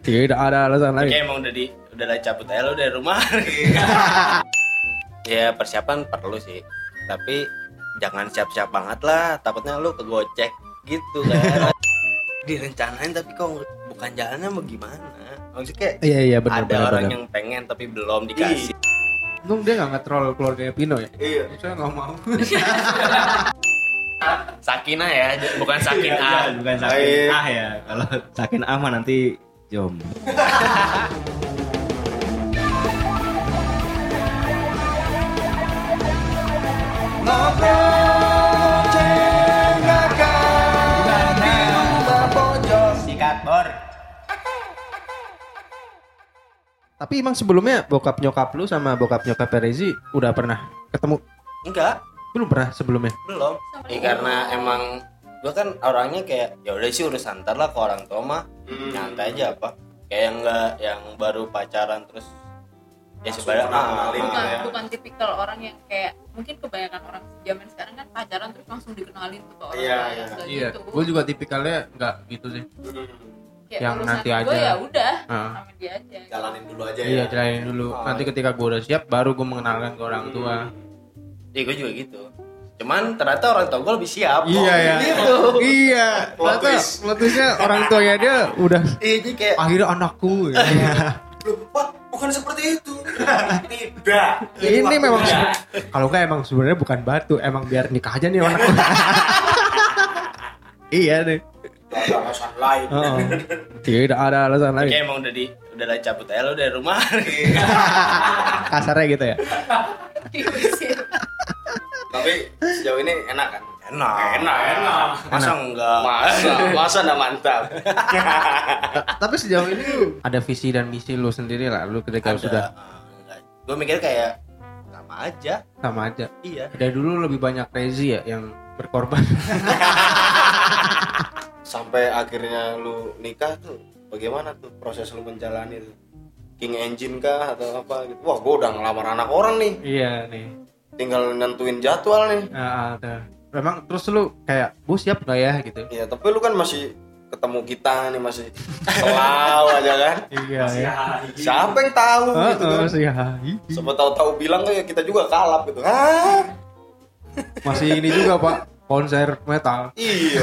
Tidak ada alasan lain. Kayaknya emang udah di udah lah cabut aja lo dari rumah. ya persiapan perlu sih. Tapi jangan siap-siap banget lah, takutnya lu kegocek gitu kan. Direncanain tapi kok bukan jalannya mau gimana? Maksudnya kayak Iya iya benar ada benar. orang benar. yang pengen tapi belum dikasih. Untung dia nggak nge-troll keluarganya Pino ya. Iya. Saya nggak mau. Sakina ya, bukan Sakina. Iya, bukan sakin ah ya. Kalau sakin ah mah nanti jomblo. Sikat bor. Tapi emang sebelumnya bokap nyokap lu sama bokap nyokap Perezi udah pernah ketemu? Enggak, Belum pernah sebelumnya. belum ya, karena emang gue kan orangnya kayak ya udah sih urusan ntar lah ke orang tua mah nyantai aja apa kayak yang nggak yang baru pacaran terus ya sebenarnya ah, bukan ah, bukan tipikal orang yang kayak mungkin kebanyakan orang zaman sekarang kan pacaran terus langsung dikenalin tuh ke orang Iya, lain, iya. segala gitu. Gue juga tipikalnya nggak gitu sih. Hmm, Kayak yang urusan nanti gue aja. ya udah Heeh. sama dia aja jalanin dulu aja ya. Iya, jalanin dulu. Ah. Nanti ketika gue udah siap, baru gue mengenalkan ke orang tua. iya gue juga gitu cuman ternyata orang tua gue lebih siap Iya, gitu ya. iya. Plot Ternyata twist. plot twistnya orang tuanya dia udah iya jadi kayak Ah, akhirnya anakku. ya. lupa bukan seperti itu tidak Ini memang kalau nggak emang sebenarnya bukan batu, emang biar nikah aja nih anakku. iya nih. ada alasan lain Oh. Tidak ada alasan iya. lain. kayak emang udah di udah lah cabut aja lo dari rumah Kasarnya gitu ya. Gitu Tapi sejauh ini enak kan? enak Enak, enak. masa enggak Masa, masa udah mantap. Tapi sejauh ini ada visi dan misi lu sendiri lah. Lu ketika sudah gue Ah, mikir kayak sama aja sama aja. iya Dari dulu lebih banyak Rezi ya yang berkorban. Sampai akhirnya lu nikah tuh, bagaimana tuh proses lu menjalani tuh? King engine kah atau apa gitu? Wah, gua udah ngelamar anak orang nih. iya nih. Tinggal nentuin jadwal nih. Nah, ada. Memang terus lu kayak gue siap gak ya gitu. Ya, tapi lu kan masih ketemu kita nih masih selau aja kan. Iya Oh, ya. Siapa yang tahu gitu kan? masih Siapa tahu-tahu bilang kayak kita juga kalap gitu. Hah? Masih ini juga pak konser metal Iya.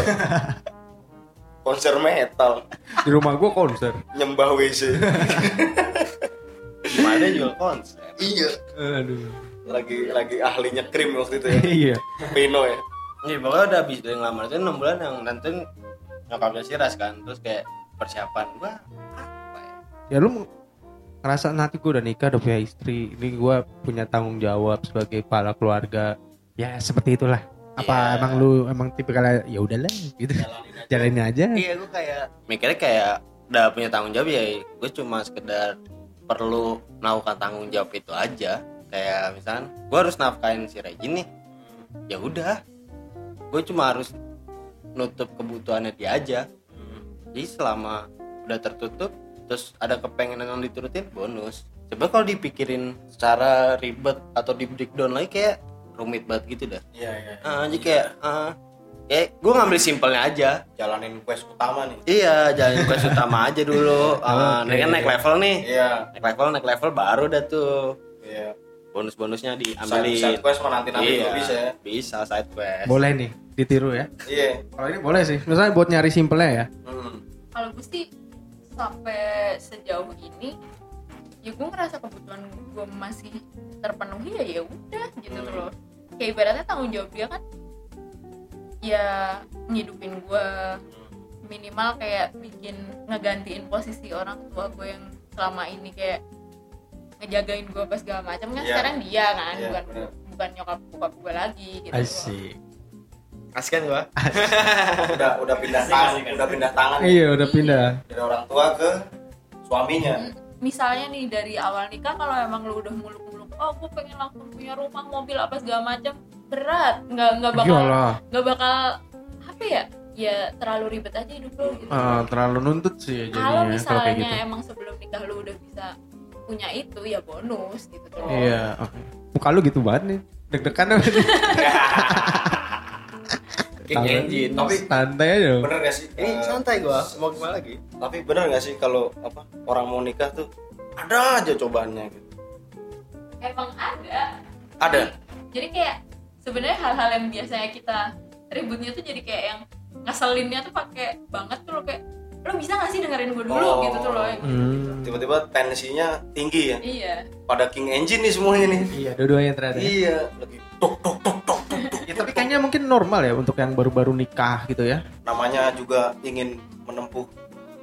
Konser metal di rumah gue konser. nyembah WC. Gimana juga konser. iya. Aduh. Lagi lagi ahlinya krim waktu itu ya. iya. Pino ya. Nih Iya, pokoknya udah habis dari ngelamar itu 6 bulan yang nentuin nyokapnya si Ras kan. Terus kayak persiapan gua apa ya? Ya lu ngerasa nanti gue udah nikah udah punya istri ini gue punya tanggung jawab sebagai kepala keluarga ya seperti itulah apa Iya. emang lu emang tipikalnya ya udahlah gitu Jalanin aja. jalanin aja Iya gua kayak mikirnya kayak udah punya tanggung jawab ya gue cuma sekedar perlu melakukan tanggung jawab itu aja kayak misalkan gua harus nafkain si Regin nih ya udah gue cuma harus nutup kebutuhannya dia aja jadi selama udah tertutup terus ada kepengenan yang diturutin bonus coba kalau dipikirin secara ribet atau di breakdown lagi kayak rumit banget gitu dah Iya iya. Ah, jadi kayak ah, kayak gue ngambil simpelnya aja Jalanin quest utama nih. iya jalan quest utama aja dulu Ah, Oke. naik- kan naik level nih Iya. naik level naik level baru dah tuh Iya. bonus-bonusnya Ambil diambilin side quest mah nanti nanti Iya, bisa ya. bisa side quest boleh nih ditiru ya Iya. kalau ini boleh sih misalnya buat nyari simpelnya ya Hmm. kalau gue sih sampai sejauh ini ya gue ngerasa kebutuhan gue masih terpenuhi ya ya udah gitu Hmm. loh kayak ibaratnya tanggung jawab dia kan ya ngidupin gue Hmm. minimal kayak bikin ngegantiin posisi orang tua gue yang selama ini kayak ngejagain gue pas segala macam kan Iya. sekarang dia kan Iya, bukan bener. bukan nyokap bokap gue lagi gitu loh. asik kasih kan gue Udah udah pindah tangan, udah pindah tangan iya udah pindah dari orang tua ke suaminya. Hmm. misalnya nih dari awal nikah kalau emang lu udah muluk-muluk oh gue pengen langsung punya rumah mobil apa segala macam berat nggak nggak bakal Iyalah, nggak bakal apa ya ya terlalu ribet aja hidup lu gitu eh, terlalu nuntut sih kalau jadinya kalau misalnya kayak gitu. emang sebelum nikah lu udah bisa punya itu ya bonus gitu loh Iya, oke. Muka lu gitu banget nih. Deg-degan apa nih? King Tangan- Engine. Tapi- santai aja dong. bener gak sih Ini eh, santai gua, mau gimana lagi? tapi bener gak sih kalau apa orang mau nikah tuh ada aja cobaannya gitu. emang ada ada jadi kayak sebenarnya hal-hal yang biasanya kita ributnya tuh jadi kayak yang ngeselinnya tuh pakai banget tuh lo kayak lo bisa gak sih dengerin gue dulu Oh. gitu tuh lo Hmm. tiba-tiba tensinya tinggi ya iya pada king engine nih semuanya nih Iya, dua-duanya ternyata. ya. iya lagi tok tok tok tok tok, tok. Ya, tapi kayaknya mungkin normal ya untuk yang baru-baru nikah gitu ya. namanya juga ingin menempuh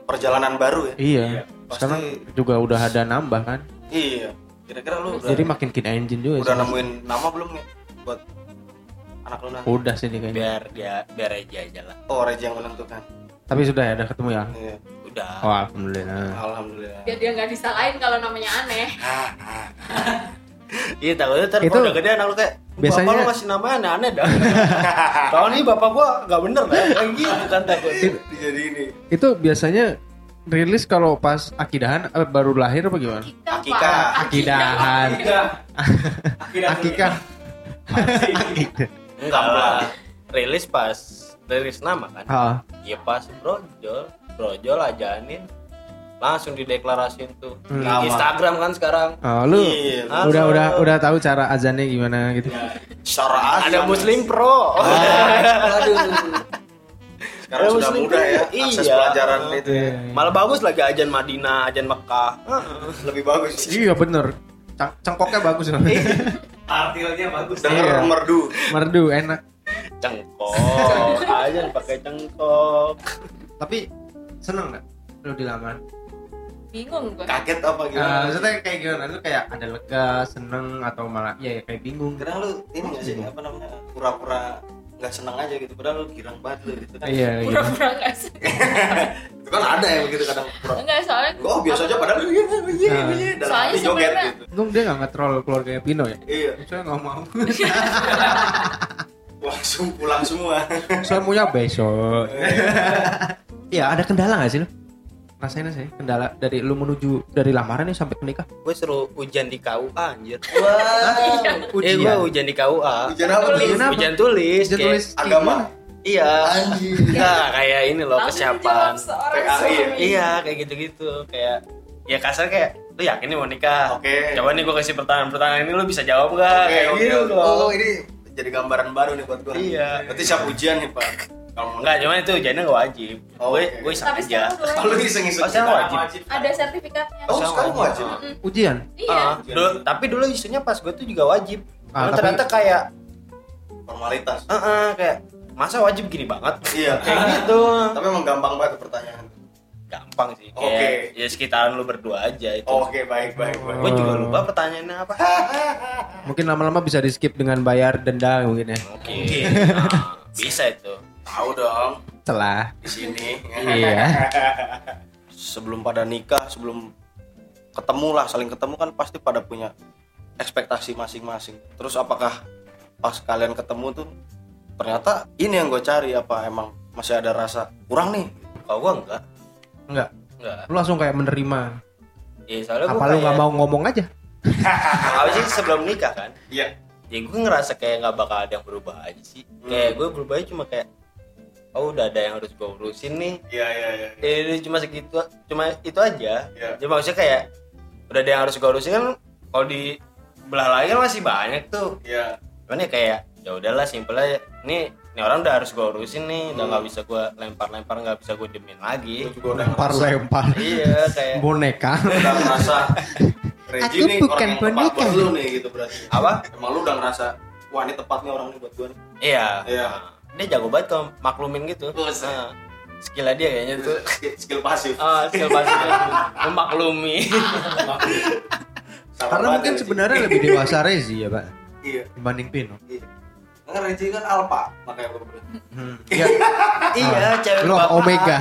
perjalanan baru ya Iya. pasti. Sekarang juga udah ada nambah kan. iya kira-kira lu udah, Jadi makin kin engine juga udah sih. nemuin nama belum ya buat anak lu nanti Udah sih ini kayaknya. Biar dia biar aja aja lah. oh Reza yang menentukan Tapi sudah ya udah ketemu ya. iya. Udah. Oh, alhamdulillah. alhamdulillah biar dia nggak disalahin kalau namanya aneh Iya, takutnya ntar Itu- kalau udah gede anak lu kayak Biasanya- Bapak lu masih namanya aneh-aneh dah. Tahun ini bapak gua gak bener dah. Kayak gitu kan takutnya. jadi ini Itu biasanya rilis kalau pas akidahan eh, baru lahir apa gimana? Akikah, Pak. Akikah. Akidahan. Iya. Akidah. Akikah. Enggak lah. Rilis pas rilis nama kan. Ah, Ya pas brojol, brojol ajanin langsung dideklarasiin tuh Hmm. Di Instagram kan sekarang ah, lu Iya. udah udah udah tahu cara azannya gimana gitu. syara ada muslim pro Ah. aduh sekarang Ada sudah muslim kan? mudah ya juga. akses Iya. pelajaran itu ya Iya. malah bagus lagi ajan Madinah ajan Mekah lebih bagus Iya bener. Cang- cangkoknya bagus loh. Artilnya bagus. Iya. dengar merdu Merdu enak. cengkok ajan pakai cengkok Tapi seneng nggak lu dilamar? bingung gue kaget Eh, apa gimana maksudnya kayak gimana? Lu kayak ada lega, seneng atau malah ya, ya kayak bingung. Kadang lu ini gak sih apa namanya pura-pura nggak seneng aja gitu padahal lu girang banget lu gitu kan Iya, iya. pura-pura nggak sih Eh. itu kan ada yang begitu kadang pura enggak soalnya oh biasa aja padahal iya iya iya dalam Soalnya hati joget sebenarnya- gitu Untung dia nggak nge-troll keluarganya Pino ya. iya Saya nggak mau. langsung pulang semua Saya maunya besok. Iya, ada kendala nggak sih lu? Rasain sih kendala dari lu menuju dari lamaran nih sampai ke nikah. gue suruh ujian di KUA anjir wah eh gue ujian di KUA Ujian apa tuh? Tulis, Ujian apa? ujian tulis Ujian kayak- tulis agama iya Anjir. nah, kayak ini loh langsung kesiapan dijawab seorang PA, suami iya. iya kayak gitu-gitu kayak ya kasar kayak lu yakin nih mau nikah oke coba nih gue kasih pertanyaan-pertanyaan ini lu bisa jawab gak oke kayak oke gitu oke. loh oh ini jadi gambaran baru nih buat gua Iya. berarti siap ujian nih pak kalau mau Enggak, cuman itu ujiannya nggak wajib. iya. Oh, gue oke. gue iseng tapi aja. sekarang kalau boleh. iseng-iseng Oh, sekarang wajib. ada oh sertifikatnya Sekarang sekarang wajib. wajib Mm-mm. ujian. iya Ah, dulu- tapi dulu isunya pas gue tuh juga wajib. Ah, Cuman tapi- ternyata kayak formalitas eh eh, kayak masa wajib gini banget? iya kayak gitu. tapi emang gampang banget pertanyaan Gampang sih. Kayak, Oke. Oh, gitu. Ya sekitaran lu berdua aja itu. oke baik baik baik Gue juga lupa pertanyaannya apa. Mungkin lama-lama bisa di skip dengan bayar denda mungkin ya. Oke. Nah, bisa itu. tahu dong Celah. di sini ya. Iya. sebelum pada nikah sebelum ketemu lah saling ketemu kan pasti pada punya ekspektasi masing-masing terus apakah pas kalian ketemu tuh ternyata ini yang gue cari apa emang masih ada rasa kurang nih Kalau gue enggak, Enggak. enggak. Lu langsung kayak menerima. Ya soalnya gue Apa lu nggak mau ngomong aja? Habis itu sebelum nikah kan. iya ya gue ngerasa kayak nggak bakal ada yang berubah aja sih kayak gue berubahnya cuma kayak oh udah ada yang harus gue urusin nih iya iya iya Eh, ini cuma segitu cuma itu aja Iya. jadi maksudnya kayak udah ada yang harus gue urusin kan kalau di belah lagi kan masih banyak tuh iya cuman ya kayak ya udahlah simple aja nih ini orang udah harus gue urusin nih udah nggak bisa gue lempar-lempar nggak bisa gue demin lagi Gua juga udah Lempar ngerasa- lempar. iya kayak Boneka. udah ngerasa Aku Regi nih bukan orang yang tepat boneka. buat lu nih gitu berarti apa emang lu udah ngerasa wah ini tepatnya orang nih buat gue nih iya Iya. dia jago banget kalau maklumin gitu Buset. Nah, skillnya dia kayaknya tuh Skill- skill pasif Ah, skill basket memaklumi. Sabar Karena banget mungkin ya, Regi. sebenarnya lebih dewasa Rezi ya, Pak, iya dibanding Pino. iya karena Regi kan alpha makanya gue bilang Hmm. Ya, iya, cewek lu bapak. omega.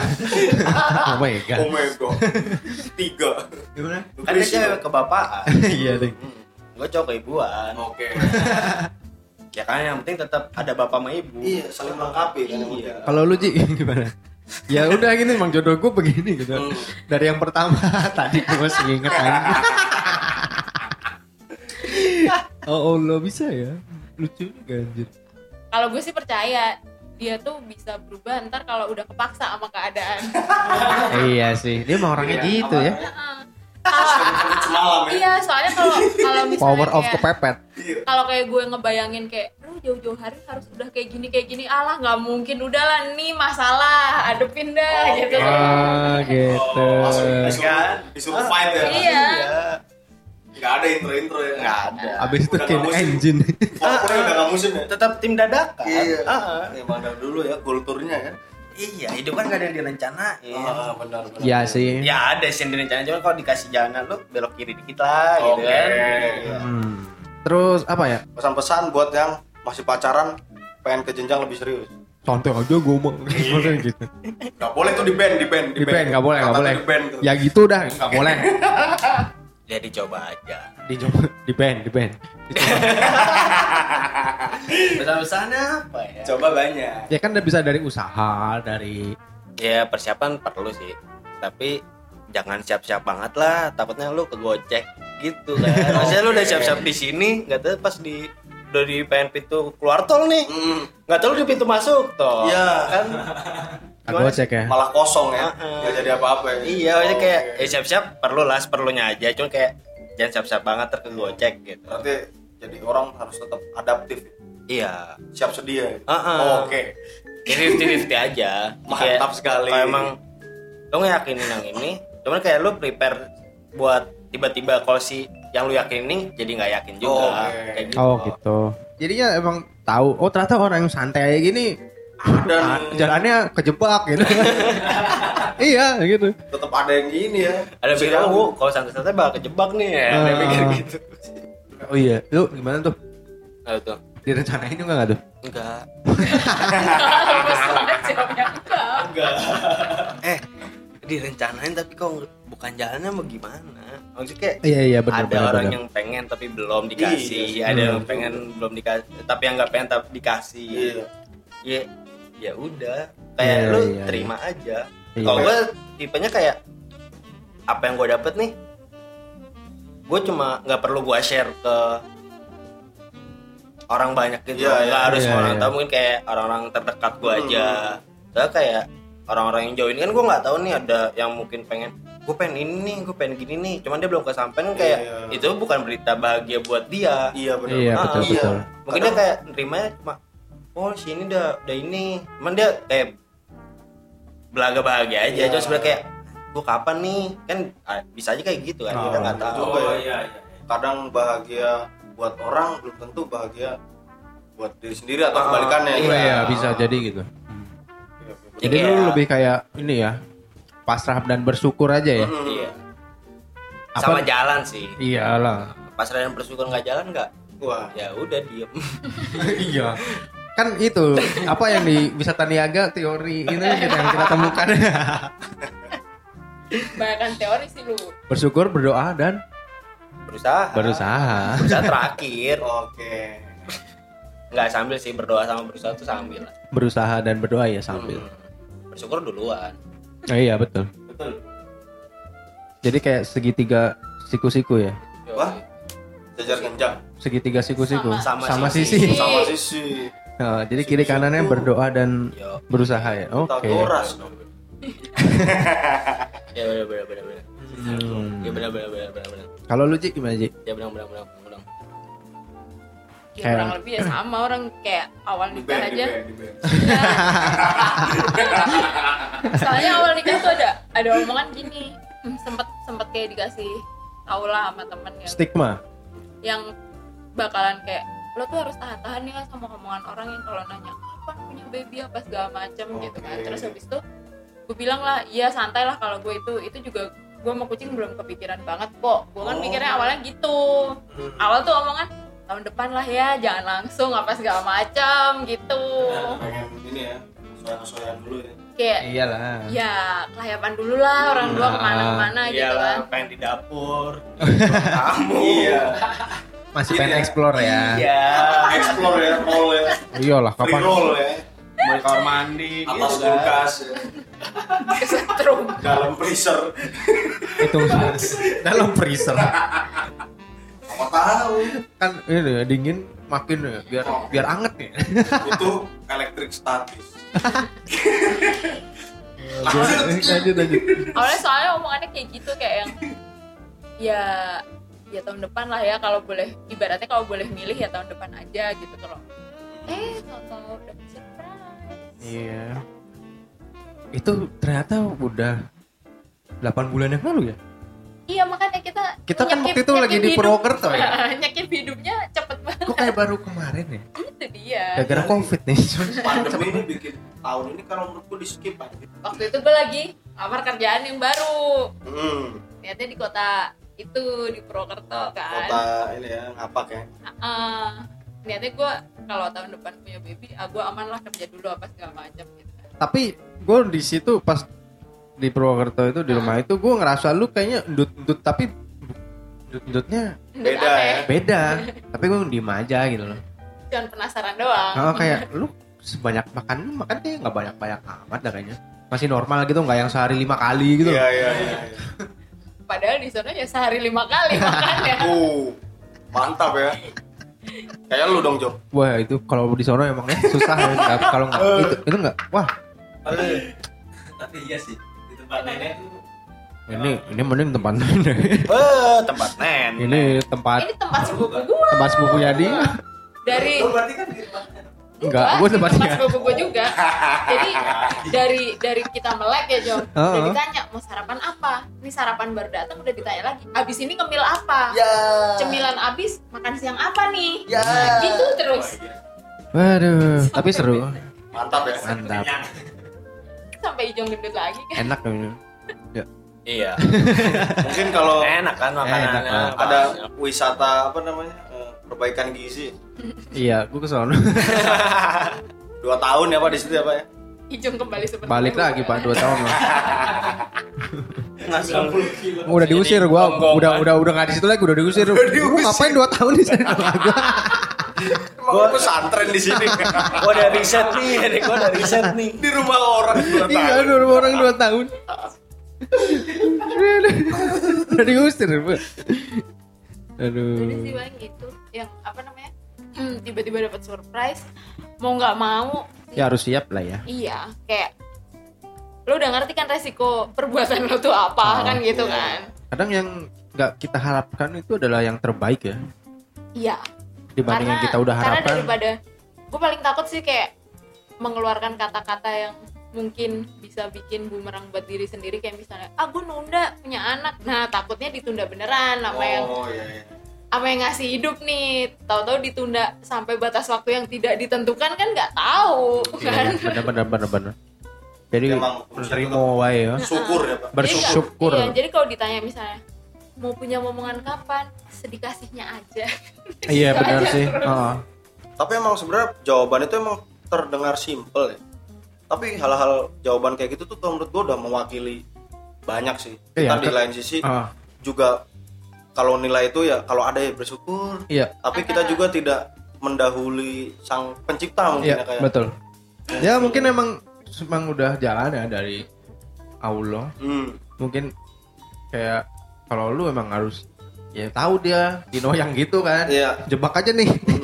omega. Oh my god. Tiga. Gimana? Kan dia cewek kebapaan. Iya, deh. Gue cowok ibuan. Oke. Ya kan yang penting tetap ada bapak sama ibu. Iya, saling melengkapi kan. Iya. Kalau lu Ji gimana? Ya udah gini emang jodoh gue begini gitu. Hmm. Dari yang pertama tadi gue masih inget aja. oh, Allah bisa ya. Lucu juga anjir. kalau gue sih percaya dia tuh bisa berubah ntar kalau udah kepaksa sama keadaan iya sih dia mah orangnya Iya, gitu ya Heeh. Kalau- semalam ya Iya. iya soalnya kalau kalau misalnya power of kayak- kepepet kalau kayak gue ngebayangin kayak aduh jauh-jauh hari harus udah kayak gini kayak gini alah nggak mungkin udahlah nih masalah adepin dah Oke. gitu ah gitu Langsung Oh, Iya kan? disuruh- disuruh fight ya Iya. nggak ada intro intro ya nggak ada abis itu Udah kayak nggak musim. engine Pokoknya udah nggak musim ya tetap tim dadakan Iya. Ah, Emang dari dulu ya kulturnya kan. iya hidup kan gak ada yang direncanain Ah, benar benar. iya sih ya ada sih yang direncanain cuman kalau dikasih jalanan lu belok kiri dikit lah gitu Oke. kan Iya. Hmm. terus apa ya Pesan-pesan buat yang masih pacaran pengen ke jenjang lebih serius. santai aja gue mau Maksudnya gitu Gak boleh tuh di band, di band, di band nggak boleh nggak boleh Di band tuh. ya gitu dah nggak boleh jadi coba Ya, aja dicoba di band di band pesan-pesannya apa ya Coba banyak. ya kan bisa dari usaha dari ya persiapan perlu sih tapi jangan siap-siap banget lah takutnya lu kegocek gitu kan maksudnya lu udah siap-siap di sini nggak tahu pas di udah di pengen pintu keluar tol nih Hmm, nggak tahu lu di pintu masuk tol Iya. kan aku cek ya malah kosong ya. Heeh. Nggak jadi apa-apa ya. iya maksudnya kayak Oke. eh, siap-siap perlu lah seperlunya aja cuma kayak jangan siap-siap banget terkegocek gitu Berarti jadi orang harus tetap adaptif, iya siap sedia. Heeh. Oh, Oke. Jadi 50 aja. Mantap sekali. Kalau emang lo ngeyakinin yang ini, cuman kayak lo prepare buat tiba-tiba kalau si yang lu yakinin jadi nggak yakin juga. Oke. Kayak gitu. oh gitu jadinya emang tahu oh ternyata orang yang santai kayak gini ah, Dan jalannya kejebak gitu iya gitu tetap ada yang gini ya. Ada yang bilang, "Oh, kalau santai-santai bakal kejebak nih." Iya, Ya. Ada yang mikir Ah. gitu. oh iya lu gimana tuh Nah, tuh. direncanain juga nggak tuh Enggak. jawabnya enggak Eh, direncanain tapi kok bukan jalannya mau gimana? Maksudnya kayak iya iya benar ada orang yang pengen tapi belum dikasih, Iya, ada iya. yang pengen belum dikasih, tapi yang nggak pengen tapi dikasih. Iya. ya ya udah kayak Iya, lu iya, terima aja Iya. kalau gue tipenya kayak apa yang gue dapet nih gue cuma nggak perlu gue share ke orang banyak gitu Iya, nggak iya, harus iya, orang iya. tahu mungkin kayak orang-orang terdekat gue Hmm. aja Soalnya kayak orang-orang yang jauh ini kan gue nggak tahu nih ada yang mungkin pengen gue pengen ini nih gue pengen gini nih cuman dia belum kesampaian kan kayak Iya. itu bukan berita bahagia buat dia Iya benar. Iya, Ah, betul, betul. mungkin dia kayak nerimanya cuma oh si ini udah udah ini cuman dia kayak belaga bahagia aja Iya. cuma sebenarnya kayak gua kapan nih kan ah, bisa aja kayak gitu kan kita Oh, nggak tahu Coba ya. iya. kadang bahagia buat orang belum tentu bahagia buat diri sendiri atau Ah, kebalikannya Nah. Iya, iya iya, bisa jadi gitu jadi Jadi lu kayak- lebih kayak ini ya pasrah dan bersyukur aja ya Hmm. iya Apa- sama jalan sih iyalah pas yang bersyukur nggak jalan nggak wah ya udah diem iya kan itu apa yang di wisata niaga teori ini gitu yang kita temukan kebanyakan teori sih lu bersyukur berdoa dan berusaha berusaha berusaha terakhir oke nggak sambil sih berdoa sama berusaha tuh sambil lah. berusaha dan berdoa ya sambil Hmm. bersyukur duluan Oh, iya betul betul jadi kayak segitiga siku-siku ya Yoi. Wah. jajar kencang segitiga siku-siku Sama- sama, sama sisi, sisi. sama sisi Nah, jadi kiri kanannya berdoa dan Yo. berusaha ya oke Pythagoras dong ya benar benar benar benar Hmm. ya benar benar benar benar benar kalau lu Ji, gimana Ji? ya benar benar benar benar ya Kayak- kurang lebih ya sama orang kayak awal di nikah band di aja Iya. band di band soalnya awal nikah tuh ada ada omongan gini hmm, sempet sempet kayak dikasih tau lah sama temen gitu. yang stigma yang bakalan kayak lo tuh harus tahan tahan ya sama omongan orang yang kalau nanya kapan punya baby apa segala macem gitu kan Oke. terus habis itu gue bilang lah iya santai lah kalau gue itu itu juga gue mau kucing belum kepikiran banget kok gue kan Oh. mikirnya awalnya gitu Hmm. awal tuh omongan tahun depan lah ya jangan langsung apa segala macem gitu pengen ini ya kesoyan-kesoyan dulu ya kayak iyalah Iya. ya kelayapan dulu lah orang dua Iya. Nah, kemana-mana gitu kan Iyalah, pengen di dapur. iya masih pengen explore ya Iya. explore ya roll ya iyalah free kapan roll ya Mau di kamar mandi. atas gitu kan. kulkas ya. kesetrum dalam freezer itu kan. dalam freezer apa tahu kan ini ya, dingin makin ya, biar biar anget ya. itu elektrik statis lanjut Iya, lanjut. lanjut. awalnya soalnya omongannya kayak gitu kayak yang ya ya tahun depan lah ya kalau boleh ibaratnya kalau boleh milih ya tahun depan aja gitu kalau eh tahu-tahu dapet surprise Iya. Itu ternyata udah 8 bulan yang lalu ya? iya makanya kita Kita kan waktu itu lagi di hidup. Purwokerto ya? nyakip hidupnya cepet banget Kok kayak baru kemarin ya? itu dia Gara-gara covid nih. pandemi ini bikin tahun ini kalau menurutku di skip aja waktu itu gue lagi lamar kerjaan yang baru hmm, lihatnya di kota itu di Purwokerto kan kota ini ya ngapak ya Ah, niatnya gue kalau tahun depan punya baby ah gue aman lah kerja dulu apa segala macam gitu kan Tapi gue di situ pas di Purwokerto itu di rumah itu gue ngerasa lu kayaknya endut-endut tapi endut-endutnya Nggak Beda aneh. ya? beda. tapi gue diem aja gitu loh. cuman penasaran doang Kalau kayak lu sebanyak makan lu makan kayak nggak banyak-banyak amat dah kayaknya. Masih normal gitu nggak yang sehari lima kali gitu. iya iya iya iya. padahal di sana ya sehari lima kali makannya uh mantap ya kayak lu dong Jo Wah itu kalau di sono emangnya susah ya. Nggak- kalau nggak itu itu nggak wah Eh. Aduh. tapi iya sih di tempat nenek tuh ini ini mending tempat ini Eh, tempat nen. ini tempat ini tempat sepupu gue tempat sepupunya dia dari Lu berarti kan di tempat nenek. enggak Wah, gue di tempatnya tempat sepupu gue juga jadi dari dari kita melek ya Jom udah Heeh. ditanya mau sarapan apa ini sarapan baru datang udah ditanya lagi abis ini ngemil apa ya cemilan abis makan siang apa nih ya gitu terus Wah, iya. waduh tapi seru mantap ya mantap Kenyang. sampai hijau gendut lagi kan enak ini Iya. mungkin kalau Enak kan makanannya. Enak banget. ada wisata apa namanya eh, perbaikan gizi iya gue ke sono dua tahun ya pak di situ ya pak ya hijau kembali seperti balik dulu, lagi kan. pak dua tahun lah ngasih 90 kilo. udah Jadi diusir gue gonggongan. udah udah udah nggak di situ lagi udah diusir gue ngapain dua tahun di sana gua pesantren di sini Gua udah riset nih, adik gua udah riset nih. di rumah orang dua iya tahun dua orang dua tahun udah diusir Pak. Jadi sih aduh paling gitu yang apa namanya hmm, tiba-tiba dapat surprise mau nggak mau ya harus siap lah ya iya kayak lo udah ngerti kan resiko perbuatan lo tuh Oh, apa kan gitu iya. kan kadang yang nggak kita harapkan itu adalah yang terbaik ya iya dibanding yang kita udah karena harapkan daripada gue paling takut sih kayak mengeluarkan kata-kata yang mungkin bisa bikin bumerang buat diri sendiri kayak misalnya ah gue nunda punya anak nah takutnya ditunda beneran apa yang oh iya iya apa yang ngasih hidup nih tahu-tahu ditunda sampai batas waktu yang tidak ditentukan kan nggak tahu kan Iya, bener bener bener bener jadi Emang menerima wae ya syukur ya pak bersyukur Jadi nggak- iya, jadi kalau ditanya misalnya mau punya momongan kapan sedikasihnya aja iya Gitu bener aja sih terus. Heeh. tapi emang sebenarnya jawaban itu emang terdengar simple ya tapi hal-hal jawaban kayak gitu tuh kalau menurut gua udah mewakili banyak sih Iya, kita di ter- lain sisi Heeh. juga kalau nilai itu ya kalau ada ya bersyukur iya tapi kita juga tidak mendahului sang pencipta mungkin iya ya kayak betul ya mungkin emang emang udah jalan ya dari Allah Hmm. mungkin kayak kalau lu emang harus ya tahu dia dinoyang gitu kan Iya. jebak aja nih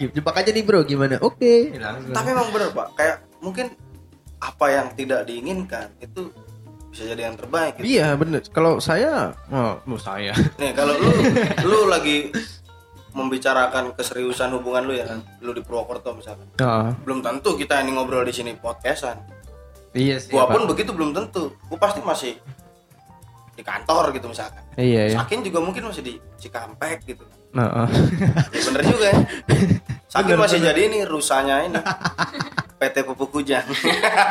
Mm. jebak aja nih bro gimana oke langsung Tapi emang bener pak, kayak mungkin apa yang tidak diinginkan itu bisa jadi yang terbaik. Gitu. Iya bener. Kalau saya, oh, mau saya. Nih kalau lu lu lagi membicarakan keseriusan hubungan lu ya kan, lu di Purwokerto misalkan. Ah, Belum tentu kita ini ngobrol di sini podcastan. iya sih. Gua Pak. pun begitu belum tentu. Gua pasti masih di kantor gitu misalkan. Iya ya. Sakin juga mungkin masih di Cikampek gitu. Nah, ah. Ya, bener juga ya. Sakin masih jadi ini rusanya ini. PT Pupuk Kujang.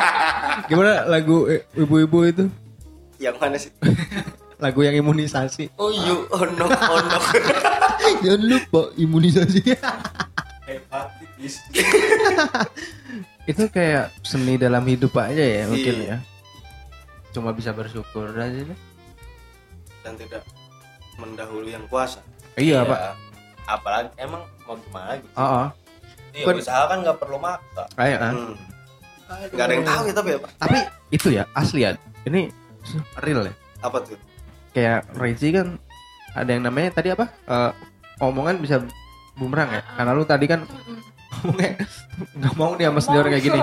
Gimana lagu eh, ibu-ibu itu? yang mana sih? Lagu yang imunisasi. Oh iya. you onok onok. Jangan lupa imunisasi. hepatitis itu kayak seni dalam hidup aja ya mungkin Iya. ya. Cuma bisa bersyukur aja. deh. dan tidak mendahului yang kuasa. Iya pak. Apalagi emang mau gimana lagi? Oh, oh. Iya, Kan- usaha kan nggak perlu maksa. Ayo, ah. Hmm. Gak ada yang tahu ya tapi ya, Pak. Tapi itu ya asli ya. Ini real ya. Apa tuh? Kayak Rezi kan ada yang namanya tadi apa? Eh, omongan bisa bumerang ya karena lu tadi kan ngomongnya nggak mau nih sama senior kayak gini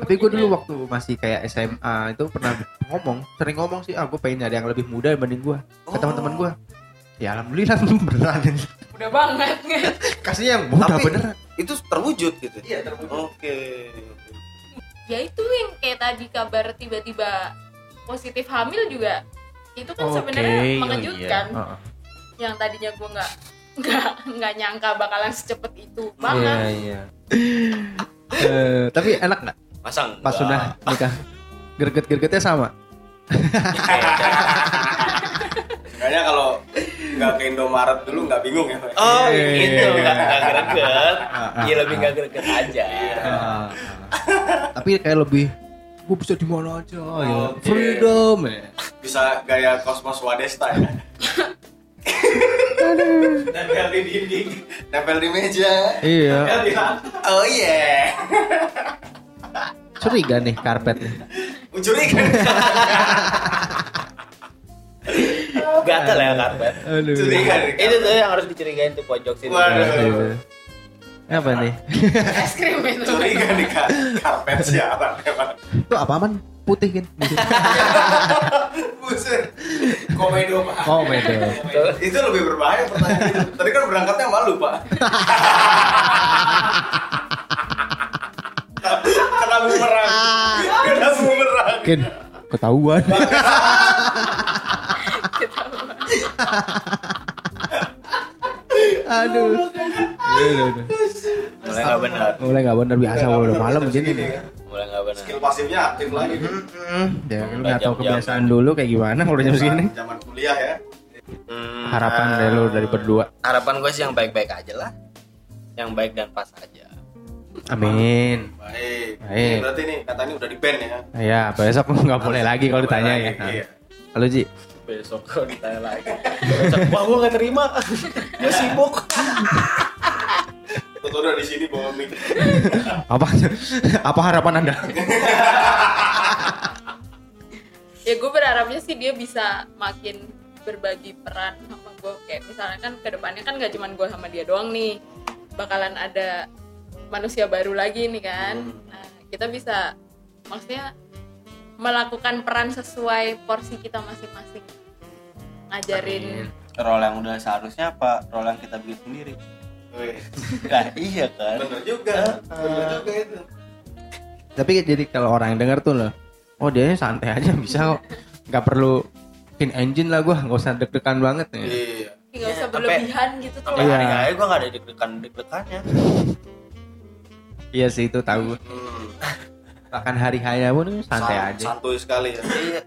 tapi gue dulu waktu masih kayak SMA itu pernah ngomong sering ngomong sih ah gue pengen nyari yang lebih muda dibanding gue ke teman-teman Oh, gue ya alhamdulillah beneran udah banget kasihnya yang muda Tapi- beneran itu terwujud gitu iya oke ya itu yang kayak tadi kabar tiba-tiba positif hamil juga itu kan Oke, sebenarnya oh iya. mengejutkan yang tadinya gue nggak nggak nggak nyangka bakalan secepet itu iya banget iya Eh, tapi enak nggak Masa enggak? pas sudah nikah gerget-gergetnya sama kayaknya kalau nggak ke Indomaret dulu nggak bingung ya Pak? Oh Iya. gitu, nggak nggak greget Ah, Iya ah, lebih nggak greget aja Iya. Ah, ah. tapi kayak lebih gue bisa di mana aja ya. Oke. freedom ya. bisa gaya kosmos wadesta ya nempel di dinding nempel di meja iya nempel di lantai. oh iya curiga nih karpet nih mencurigakan Gatel ya karpet aduh mencurigakan Itu tuh yang harus dicurigain tuh pojok sini waduh Iya, Eh, apa nih Iya. es krim itu curiga di ka- karpet siapa memang itu apa man putih kan buset komedo pak oh beda itu lebih berbahaya pertanyaan itu tadi kan berangkatnya malu pak kena bumerang kena bumerang mungkin ketahuan aduh Aduh, aduh. Mulai nggak benar mulai nggak benar biasa kalau udah malam gini nih Mulai nggak benar skill pasifnya aktif lagi ya lu Udah nggak tahu jam-jam. kebiasaan dulu kayak gimana kalau jam segini zaman kuliah ya Hmm, harapan ah, dari lu dari berdua Harapan gue sih yang baik-baik aja lah Yang baik dan pas aja amin baik Baik. Ini berarti nih kata ini udah di ban ya ya besok lu nggak boleh lagi kalau ditanya ya Iya. Halo Ji, Besok gue ditanya lagi Besok, Wah gue nggak terima Gue sibuk Tuh udah di sini bawa mic. apa apa harapan Anda? ya gue berharapnya sih dia bisa makin berbagi peran sama gue kayak misalnya kan kedepannya kan gak cuman gue sama dia doang nih bakalan ada manusia baru lagi nih kan Hmm. nah kita bisa maksudnya melakukan peran sesuai porsi kita masing-masing ngajarin Role yang udah seharusnya apa? Role yang kita bikin sendiri Wih, Nah iya kan Bener juga, bener juga itu. Tapi jadi kalau orang yang denger tuh loh, oh dia santai aja bisa kok. Nggak perlu bikin engine lah gua, nggak usah deg-degan banget ya." nih. Iya. nggak usah Iya, sampai- berlebihan gitu tuh Sampai Iya. hari kaya gue gak ada deg-degan-deg-degannya Iya sih itu tahu. gua. Hmm. Bahkan hari hanya pun santai San- aja. Santuy sekali ya. Iya.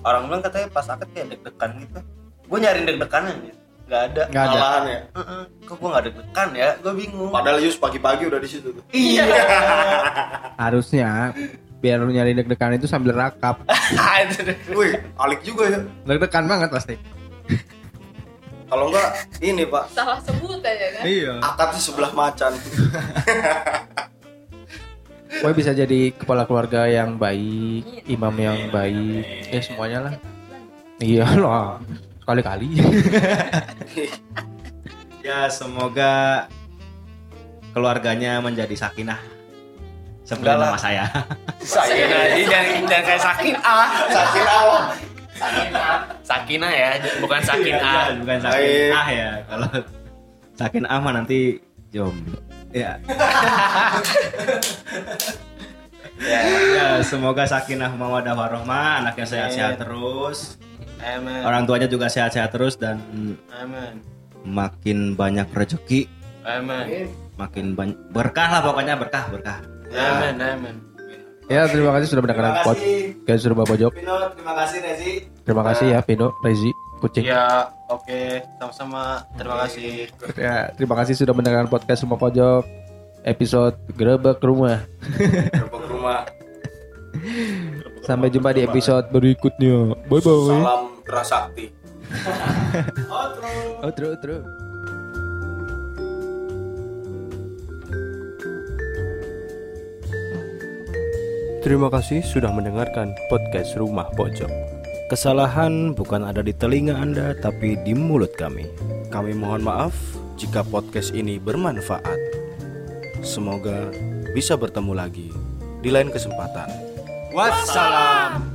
Orang bilang katanya pas akad kayak deg-degan gitu. Gue nyari deg-deganan ya. Gak ada. Nggak ada. Malahan ya. Heeh. Kok gue gak deg-degan ya? Gue bingung. Padahal Yus pagi-pagi udah di situ tuh. Iya. Harusnya biar lu nyari deg-degan itu sambil rakap. Itu deg- Wih, alik juga ya. Deg-degan banget pasti. Kalau enggak ini pak, salah sebut aja kan Iya. akadnya sebelah macan. Gue bisa jadi kepala keluarga yang baik, imam yang baik, ya semuanya lah. Iya loh, sekali-kali. Ya semoga keluarganya menjadi sakinah seperti Enggak lah. nama saya. Sakinah. Jadi jangan, jangan kayak sakin ah. Sakit awal. Sakina ya, bukan sakin ah. Iya, bukan sakin Baik. ah ya. Kalau sakin ah mah nanti jomblo. Ya. ya, ya, semoga sakinah mawadah warohmah, anaknya sehat-sehat terus, Amin. orang tuanya juga sehat-sehat terus dan Amin. makin banyak rezeki, Amin. makin banyak berkah lah pokoknya berkah berkah. Amin. Amin. ya terima kasih sudah mendengarkan Terima kasih. podcast Rumah Pojok. Pino, terima kasih Rezi. Terima kasih ya Pino, Rezi, Kucing. Ya, oke. Sama-sama. Terima kasih. Ya, terima kasih sudah mendengarkan podcast Rumah Pojok episode Gerebek Rumah. Gerbong rumah. Sampai jumpa di episode berikutnya. Bye bye. Salam Prasakti. Outro. Outro, outro. Terima kasih sudah mendengarkan podcast Rumah Pojok. Kesalahan bukan ada di telinga Anda, tapi di mulut kami. Kami mohon maaf jika podcast ini bermanfaat. Semoga bisa bertemu lagi di lain kesempatan. Wassalam.